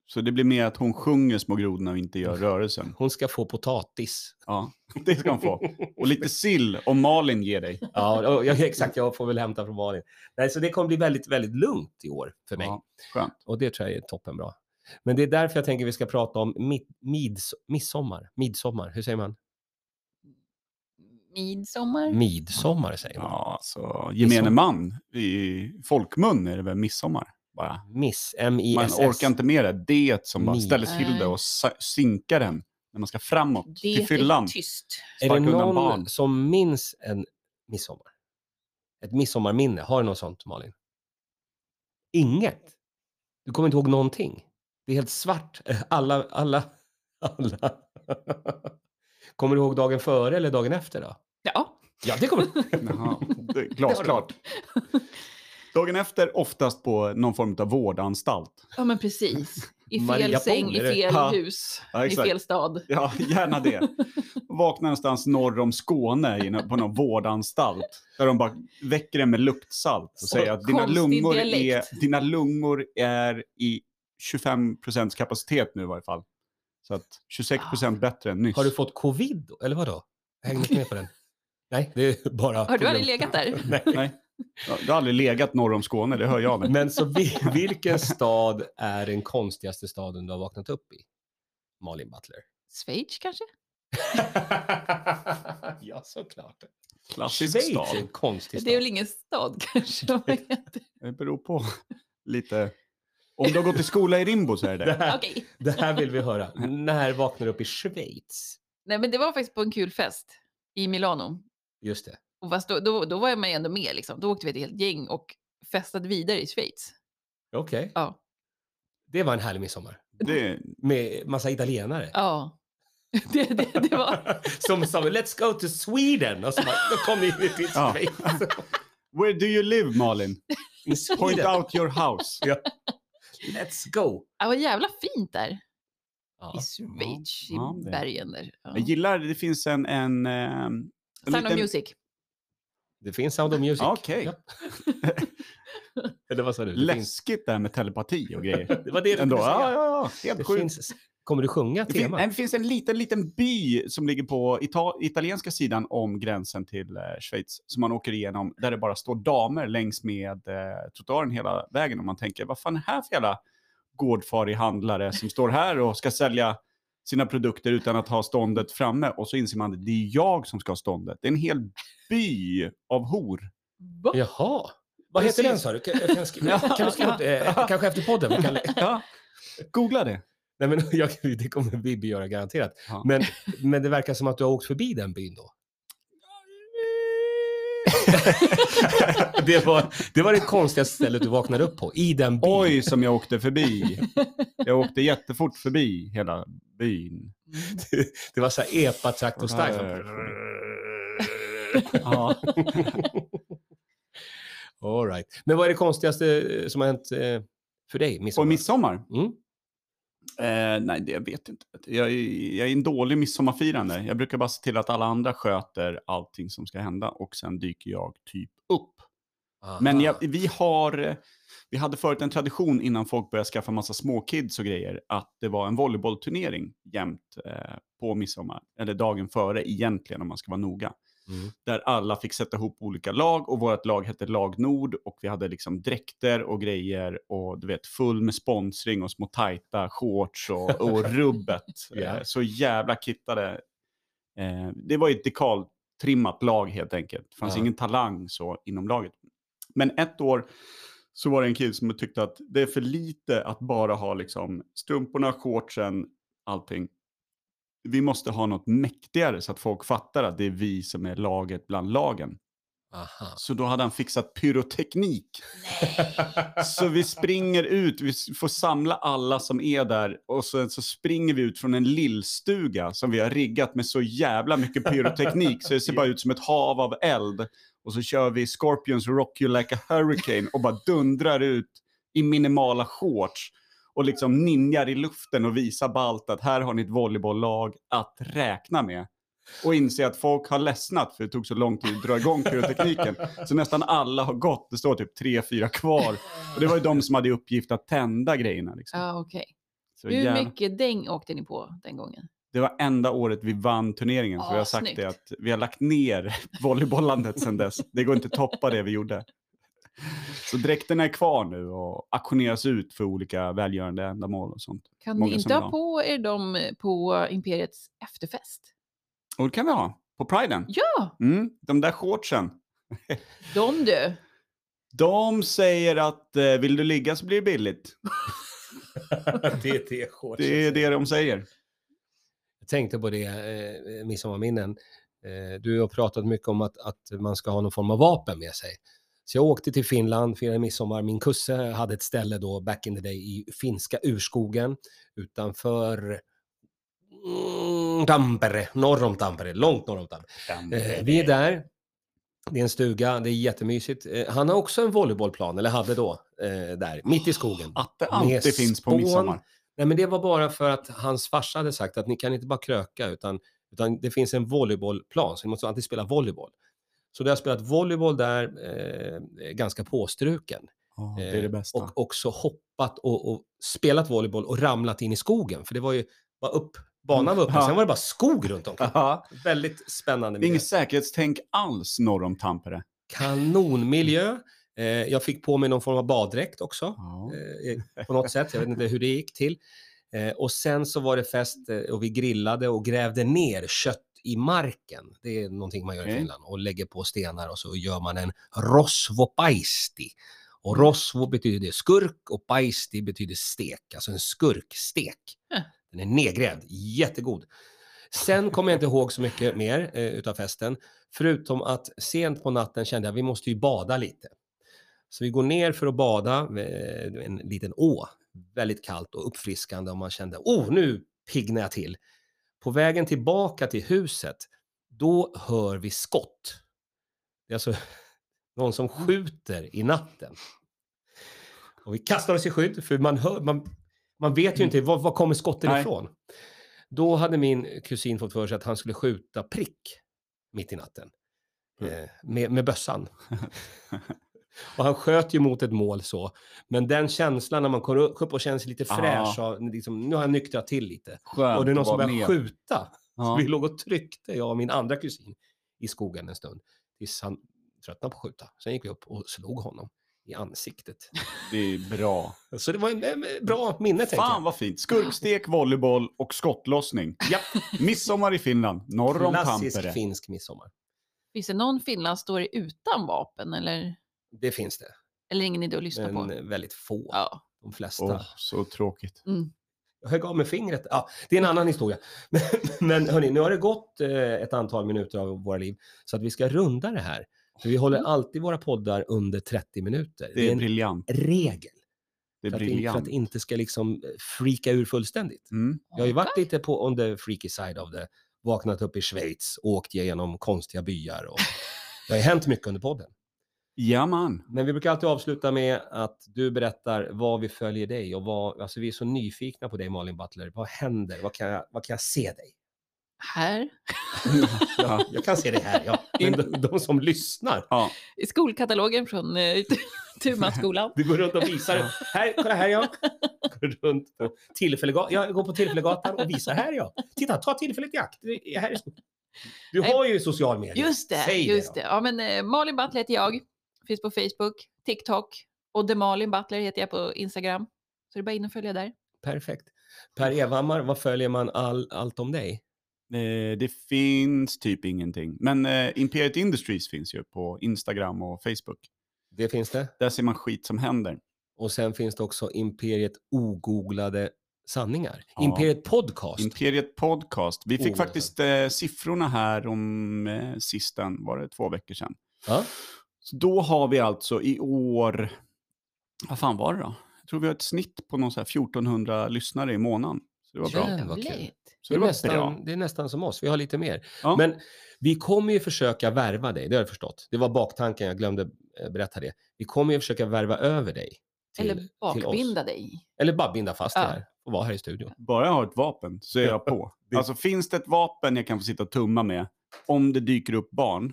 [SPEAKER 2] Så det blir mer att hon sjunger Små grodorna och inte gör rörelsen.
[SPEAKER 1] Hon ska få potatis.
[SPEAKER 2] Ja, det ska hon få. Och lite sill om Malin ger dig.
[SPEAKER 1] Ja, och jag, exakt. Jag får väl hämta från Malin. Nej, så det kommer bli väldigt, väldigt lugnt i år för mig.
[SPEAKER 2] Ja, skönt.
[SPEAKER 1] Och det tror jag är toppenbra. Men det är därför jag tänker vi ska prata om mid, mids, midsommar. Midsommar, hur säger man?
[SPEAKER 3] Midsommar.
[SPEAKER 1] Mm. Midsommar säger man.
[SPEAKER 2] Ja, så gemene man i folkmun är det väl midsommar? bara.
[SPEAKER 1] Miss,
[SPEAKER 2] Man
[SPEAKER 1] M-I-S-S.
[SPEAKER 2] orkar inte med det. Det som bara
[SPEAKER 1] Ni.
[SPEAKER 2] ställer till det och sa- sinkar den när man ska framåt till fyllan.
[SPEAKER 3] tyst.
[SPEAKER 1] Är
[SPEAKER 2] Sparka
[SPEAKER 1] det
[SPEAKER 2] undan
[SPEAKER 1] någon
[SPEAKER 2] barn.
[SPEAKER 1] som minns en midsommar? Ett midsommarminne? Har du något sånt, Malin? Inget? Du kommer inte ihåg någonting? Det är helt svart. Alla, alla, alla. Kommer du ihåg dagen före eller dagen efter då?
[SPEAKER 3] Ja,
[SPEAKER 1] Ja, det kommer
[SPEAKER 2] Jaha, det är glasklart. Dagen efter oftast på någon form av vårdanstalt.
[SPEAKER 3] ja men precis. I fel
[SPEAKER 1] Maria
[SPEAKER 3] säng,
[SPEAKER 1] Pong,
[SPEAKER 3] i
[SPEAKER 1] är det?
[SPEAKER 3] fel
[SPEAKER 2] Ja.
[SPEAKER 3] hus,
[SPEAKER 2] Ja,
[SPEAKER 3] i
[SPEAKER 2] exakt.
[SPEAKER 3] fel stad.
[SPEAKER 2] Ja, gärna det. Vakna någonstans norr om Skåne i nå- på någon vårdanstalt. Där de bara väcker en med luktsalt och
[SPEAKER 3] Och
[SPEAKER 2] säger att dina
[SPEAKER 3] konstig
[SPEAKER 2] lungor,
[SPEAKER 3] dialekt.
[SPEAKER 2] är, dina lungor är i 25 procents kapacitet nu i varje fall. Så att 26 procent bättre än nyss.
[SPEAKER 1] Har du fått covid då? Eller vadå? Jag hängde inte med på den. Nej, det är bara...
[SPEAKER 3] Har du aldrig
[SPEAKER 1] problem.
[SPEAKER 3] legat där?
[SPEAKER 1] Nej.
[SPEAKER 2] Nej. Ja, Du har aldrig legat norr om Skåne, det hör jag nu.
[SPEAKER 1] Men så vil- vilken stad är den konstigaste staden du har vaknat upp i? Malin Butler.
[SPEAKER 3] Schweiz kanske?
[SPEAKER 1] ja, såklart.
[SPEAKER 2] Klassisk
[SPEAKER 1] Schweiz
[SPEAKER 2] stad.
[SPEAKER 1] är en konstig
[SPEAKER 3] Det är
[SPEAKER 1] stad.
[SPEAKER 3] väl ingen stad kanske? de heter.
[SPEAKER 2] Det beror på lite. Om du har gått i skola i Rimbo så är det
[SPEAKER 1] Det
[SPEAKER 2] det.
[SPEAKER 1] här,
[SPEAKER 3] Okej.
[SPEAKER 1] det här vill vi höra. När vaknar du upp i Schweiz?
[SPEAKER 3] Nej men det var faktiskt på en kul fest i Milano.
[SPEAKER 1] Just det.
[SPEAKER 3] Och fast då, då, då var man ju ändå med liksom. Då åkte vi ett helt gäng och festade vidare i Schweiz.
[SPEAKER 1] Okej.
[SPEAKER 3] Ja.
[SPEAKER 1] Det var en härlig midsommar.
[SPEAKER 2] det.
[SPEAKER 1] Med massa italienare.
[SPEAKER 3] Ja. Det, det, det var...
[SPEAKER 1] Som sa “Let's go to Sweden” och så bara, då kom ni in till
[SPEAKER 2] Ja.
[SPEAKER 1] Schweiz.
[SPEAKER 2] Where do you live Malin?
[SPEAKER 1] In
[SPEAKER 2] Point
[SPEAKER 1] Sweden.
[SPEAKER 2] out your house.
[SPEAKER 1] Let's go.
[SPEAKER 3] Det var jävla fint där i
[SPEAKER 1] Ja.
[SPEAKER 3] Schweiz, i
[SPEAKER 2] Ja, det-
[SPEAKER 3] bergen där. Ja.
[SPEAKER 2] Jag gillar, det finns en... en, ehm, en
[SPEAKER 3] Sound of
[SPEAKER 2] liten-
[SPEAKER 3] Music.
[SPEAKER 1] Det finns Sound of Music.
[SPEAKER 2] Okej.
[SPEAKER 1] Ja. Eller vad sa du? Det, finns,
[SPEAKER 2] Läskigt det här med telepati och grejer.
[SPEAKER 1] det var det du
[SPEAKER 2] Ändå.
[SPEAKER 1] skulle säga.
[SPEAKER 2] Ja, ja, ja. Helt
[SPEAKER 1] Det
[SPEAKER 2] sjukt.
[SPEAKER 1] finns, kommer du sjunga
[SPEAKER 2] Det, fin-
[SPEAKER 1] temat?
[SPEAKER 2] nej, det finns en liten, liten by som ligger på ita- italienska sidan om gränsen till eh, Schweiz som man åker igenom där det bara står damer längs med eh, trottoaren hela vägen och man tänker vad fan är det här för jävla gårdfarig handlare som står här och ska sälja sina produkter utan att ha ståndet framme och så inser man att det är jag som ska ha ståndet. Det är en hel by av hor.
[SPEAKER 3] Va?
[SPEAKER 1] Jaha. Vad heter den
[SPEAKER 2] Precis.
[SPEAKER 1] sa du? Kan, kan, jag skriva-
[SPEAKER 2] Ja.
[SPEAKER 1] kan du skriva upp det? Eh, Kanske efter podden? Vi kan,
[SPEAKER 2] Ja. Googla det.
[SPEAKER 1] nej men jag, det kommer Bibi göra garanterat.
[SPEAKER 2] Ja.
[SPEAKER 1] Men, men det verkar som att du har åkt förbi den byn då? Det var det, var det konstigaste stället du vaknade upp på, i den byn.
[SPEAKER 2] Oj, som jag åkte förbi. Jag åkte jättefort förbi hela byn.
[SPEAKER 3] Mm.
[SPEAKER 1] Det var så här epa-traktorstyle.
[SPEAKER 2] Ja.
[SPEAKER 1] All right. Men vad är det konstigaste som har hänt eh, för dig
[SPEAKER 2] På
[SPEAKER 1] midsommar?
[SPEAKER 2] midsommar?
[SPEAKER 1] Mm.
[SPEAKER 2] Eh, nej, det jag vet inte. Jag, är- jag är en dålig midsommarfirande. Jag brukar bara se till att alla andra sköter allting som ska hända och sen dyker jag typ upp. Men jag, vi har... eh, Vi hade förut en tradition innan folk började skaffa massa småkids och grejer att det var en volleybollturnering jämt eh, på midsommar, eller dagen före egentligen om man ska vara noga.
[SPEAKER 1] Mm.
[SPEAKER 2] Där alla fick sätta ihop olika lag och vårt lag hette Lag Nord och vi hade liksom dräkter och grejer och du vet full med sponsring och små tajta shorts och, och rubbet.
[SPEAKER 1] Ja.
[SPEAKER 2] eh, så jävla kittade. Eh, det var ju ett dekaltrimmat lag helt enkelt. Det fanns
[SPEAKER 1] Ja.
[SPEAKER 2] ingen talang så inom laget. Men ett år så var det en kille som tyckte att det är för lite att bara ha liksom strumporna, shortsen, allting. Vi måste ha något mäktigare så att folk fattar att det är vi som är laget bland lagen.
[SPEAKER 1] Aha.
[SPEAKER 2] Så då hade han fixat pyroteknik. Så vi springer ut, vi s- får samla alla som är där och sen så springer vi ut från en lillstuga som vi har riggat med så jävla mycket pyroteknik så det ser bara ut som ett hav av eld. Och så kör vi Scorpions Rock You Like a Hurricane och bara dundrar ut i minimala shorts och liksom ninjar i luften och visar ballt att här har ni ett volleybolllag att räkna med. Och inser att folk har ledsnat för det tog så lång tid att dra igång pyrotekniken. Så nästan alla har gått, det står typ tre, fyra kvar. Och det var ju de som hade i uppgift att tända grejerna. Liksom.
[SPEAKER 3] Ja, okej.
[SPEAKER 2] Så
[SPEAKER 3] Hur
[SPEAKER 2] jävla-
[SPEAKER 3] mycket däng åkte ni på den gången?
[SPEAKER 2] Det var enda året vi vann turneringen. Så
[SPEAKER 3] Ah,
[SPEAKER 2] vi har sagt
[SPEAKER 3] snyggt.
[SPEAKER 2] det att vi har lagt ner volleybollandet sedan dess. Det går inte att toppa det vi gjorde. Så dräkterna är kvar nu och auktioneras ut för olika välgörande ändamål och sånt.
[SPEAKER 3] Kan
[SPEAKER 2] Många
[SPEAKER 3] ni
[SPEAKER 2] som
[SPEAKER 3] inte
[SPEAKER 2] la.
[SPEAKER 3] ha på er dem eh, på Imperiets efterfest?
[SPEAKER 2] Och det kan vi ha på priden.
[SPEAKER 3] Ja,
[SPEAKER 2] Mm, de där shortsen.
[SPEAKER 3] de du.
[SPEAKER 2] De säger att eh, vill du ligga så blir det billigt.
[SPEAKER 1] det är shorts.
[SPEAKER 2] Det är det de
[SPEAKER 1] Eh,
[SPEAKER 2] säger.
[SPEAKER 1] Jag tänkte på det, eh, midsommarminnen. Eh, du har pratat mycket om att, att man ska ha någon form av vapen med sig. Så jag åkte till Finland, firade midsommar. Min kusse hade ett ställe då, back in the day, i finska urskogen utanför mm, Tampere, norr om Tampere, långt norr om Tampere. Eh, vi är där. Det är en stuga, det är jättemysigt. Eh, han har också en volleybollplan, eller hade då, eh, där, mitt i skogen.
[SPEAKER 2] Att det alltid
[SPEAKER 1] med
[SPEAKER 2] finns på
[SPEAKER 1] spån.
[SPEAKER 2] midsommar.
[SPEAKER 1] Nej, men det var bara för att hans farsa hade sagt att ni kan inte bara kröka, utan, utan det finns en volleybollplan, så ni måste alltid spela volleyboll. Så då har jag spelat volleyboll där, eh, ganska påstruken.
[SPEAKER 2] Ja, det är det
[SPEAKER 1] Eh,
[SPEAKER 2] bästa.
[SPEAKER 1] Och också hoppat och, och spelat volleyboll och ramlat in i skogen, för det var ju bara upp, banan var uppe,
[SPEAKER 2] Mm, Ja.
[SPEAKER 1] sen var det bara skog runt omkring.
[SPEAKER 2] Ja,
[SPEAKER 1] Väldigt spännande.
[SPEAKER 2] det är
[SPEAKER 1] miljö.
[SPEAKER 2] inget säkerhetstänk alls norr om Tampere.
[SPEAKER 1] Kanonmiljö. Eh, jag fick på mig någon form av baddräkt också.
[SPEAKER 2] Ja.
[SPEAKER 1] eh, på något sätt. Jag vet inte hur det gick till. Eh, och sen så var det fest eh, och vi grillade och grävde ner kött i marken. Det är någonting man gör i
[SPEAKER 2] Okej.
[SPEAKER 1] Finland och lägger på stenar och så gör man en rosvopaisti. Och rosvo betyder skurk och paisti betyder stek, alltså en skurkstek.
[SPEAKER 3] Ja.
[SPEAKER 1] Den är nedgrävd, jättegod. Sen kommer jag inte ihåg så mycket mer eh, utav festen, förutom att sent på natten kände jag att vi måste ju bada lite. Så vi går ner för att bada, eh, en liten å. Väldigt kallt och uppfriskande och man kände, oh, nu piggnar jag till. På vägen tillbaka till huset, då hör vi skott. Det är alltså någon som skjuter i natten. Och vi kastar oss i skydd, för man, hör, man, man vet ju inte, var, var kommer skotten
[SPEAKER 2] Nej.
[SPEAKER 1] ifrån? Då hade min kusin fått för sig att han skulle skjuta prick mitt i natten.
[SPEAKER 2] Mm.
[SPEAKER 1] Eh, med, med bössan. och han sköt ju mot ett mål så. Men den känslan när man kommer upp och känner sig lite
[SPEAKER 2] Ja.
[SPEAKER 1] fräsch, av, liksom, nu har jag nyktrat till lite.
[SPEAKER 2] Skönt
[SPEAKER 1] Och det är någon
[SPEAKER 2] att
[SPEAKER 1] som
[SPEAKER 2] vara
[SPEAKER 1] börjar
[SPEAKER 2] med.
[SPEAKER 1] skjuta. Så
[SPEAKER 2] Ja.
[SPEAKER 1] vi låg och tryckte, jag och min andra kusin, i skogen en stund. Tills han tröttnade på att skjuta. Sen gick vi upp och slog honom i ansiktet.
[SPEAKER 2] Det är bra.
[SPEAKER 1] Så det var en, en bra minne, tänker
[SPEAKER 2] Fan
[SPEAKER 1] jag.
[SPEAKER 2] vad fint. Skurkstek, volleyboll och skottlossning. Ja. Midsommar i Finland, norr om
[SPEAKER 1] Klassisk
[SPEAKER 2] Tampere.
[SPEAKER 1] finsk midsommar.
[SPEAKER 3] Finns det någon finlandsstory utan vapen eller,
[SPEAKER 1] Det finns det,
[SPEAKER 3] eller ingen idé att lyssna
[SPEAKER 1] men
[SPEAKER 3] på?
[SPEAKER 1] väldigt få.
[SPEAKER 3] Ja.
[SPEAKER 1] De flesta.
[SPEAKER 2] Åh, så tråkigt.
[SPEAKER 3] Mm.
[SPEAKER 1] Jag högg av med fingret. Ja, det är en annan historia. Men, men hörni, nu har det gått eh, ett antal minuter av våra liv så att vi ska runda det här. För vi håller alltid våra poddar under 30 minuter.
[SPEAKER 2] Det är
[SPEAKER 1] en
[SPEAKER 2] briljant.
[SPEAKER 1] regel.
[SPEAKER 2] Det är
[SPEAKER 1] för, att, vi- för
[SPEAKER 2] briljant.
[SPEAKER 1] att det inte ska liksom eh, freaka ur fullständigt.
[SPEAKER 2] Mm.
[SPEAKER 1] Jag har ju varit lite på on the freaky side of det. Vaknat upp i Schweiz, åkt genom konstiga byar och det har ju hänt mycket under podden.
[SPEAKER 2] Ja, man.
[SPEAKER 1] Men vi brukar alltid avsluta med att du berättar vad vi följer dig och vad, alltså vi är så nyfikna på dig Malin Butler. Vad händer? Vad kan jag, vad kan jag se dig?
[SPEAKER 3] Här
[SPEAKER 1] Ja, jag kan se dig här, ja. Men de, de som lyssnar,
[SPEAKER 2] Ja.
[SPEAKER 3] i skolkatalogen från eh, Tumaskolan.
[SPEAKER 1] du går runt och visar. Här, kolla här ja. Går runt på Tillfällegatan. Jag går på Tillfällegatan och visar här ja. Titta, ta tillfället i akt. Det är Här är skog. du har ju social media.
[SPEAKER 3] Just det,
[SPEAKER 1] Säg
[SPEAKER 3] just
[SPEAKER 1] det.
[SPEAKER 3] det. Ja, men, eh, Malin Butler heter jag. Finns på Facebook, TikTok och The Malin Butler heter jag på Instagram. Så det är bara in och följa där.
[SPEAKER 1] då. Perfekt. Per Evhammar, vad följer man all, allt om dig?
[SPEAKER 2] Eh, Det finns typ ingenting. Men eh, Imperiet Industries finns ju på Instagram och Facebook.
[SPEAKER 1] Det finns det.
[SPEAKER 2] Där ser man skit som händer.
[SPEAKER 1] Och sen finns det också Imperiet ogooglade sanningar.
[SPEAKER 2] Ja.
[SPEAKER 1] Imperiet podcast.
[SPEAKER 2] Imperiet Podcast. Vi fick
[SPEAKER 1] Oh,
[SPEAKER 2] faktiskt eh, siffrorna här om eh, sisten, var det två veckor sedan.
[SPEAKER 1] ja.
[SPEAKER 2] Så då har vi alltså i år, vad fan var det då? Jag tror vi har ett snitt på någon så här 1400 lyssnare i månaden. Så det var bra.
[SPEAKER 1] Jävlar, vad kul.
[SPEAKER 3] Trevligt.
[SPEAKER 2] Så
[SPEAKER 1] Det är,
[SPEAKER 2] det var bra.
[SPEAKER 1] nästan, det är nästan som oss, vi har lite mer.
[SPEAKER 2] Ja.
[SPEAKER 1] Men vi kommer ju försöka värva dig, det har jag förstått. Det var baktanken, jag glömde eh, berätta det. Vi kommer ju försöka värva över dig. Till,
[SPEAKER 3] Eller
[SPEAKER 1] till oss.
[SPEAKER 3] bakbinda dig.
[SPEAKER 1] Eller bara binda fast
[SPEAKER 3] Ja.
[SPEAKER 1] dig här och vara här i studion.
[SPEAKER 2] Bara jag har ett vapen så är jag på.
[SPEAKER 1] Det-
[SPEAKER 2] Alltså finns det ett vapen jag kan få sitta och tumma med om det dyker upp barn?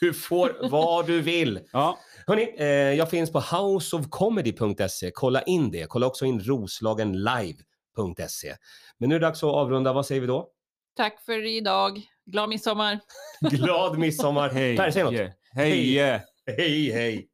[SPEAKER 1] Du får vad du vill.
[SPEAKER 2] Ja,
[SPEAKER 1] Hörni, eh, jag finns på houseofcomedy.se. Kolla in det. Kolla också in roslagenlive.se. Men nu är det dags att avrunda. Vad säger vi då?
[SPEAKER 3] Tack för idag. Glad midsommar.
[SPEAKER 1] Glad midsommar.
[SPEAKER 2] hej.
[SPEAKER 1] Per, säg något.
[SPEAKER 2] Hej.
[SPEAKER 1] Hej, hej.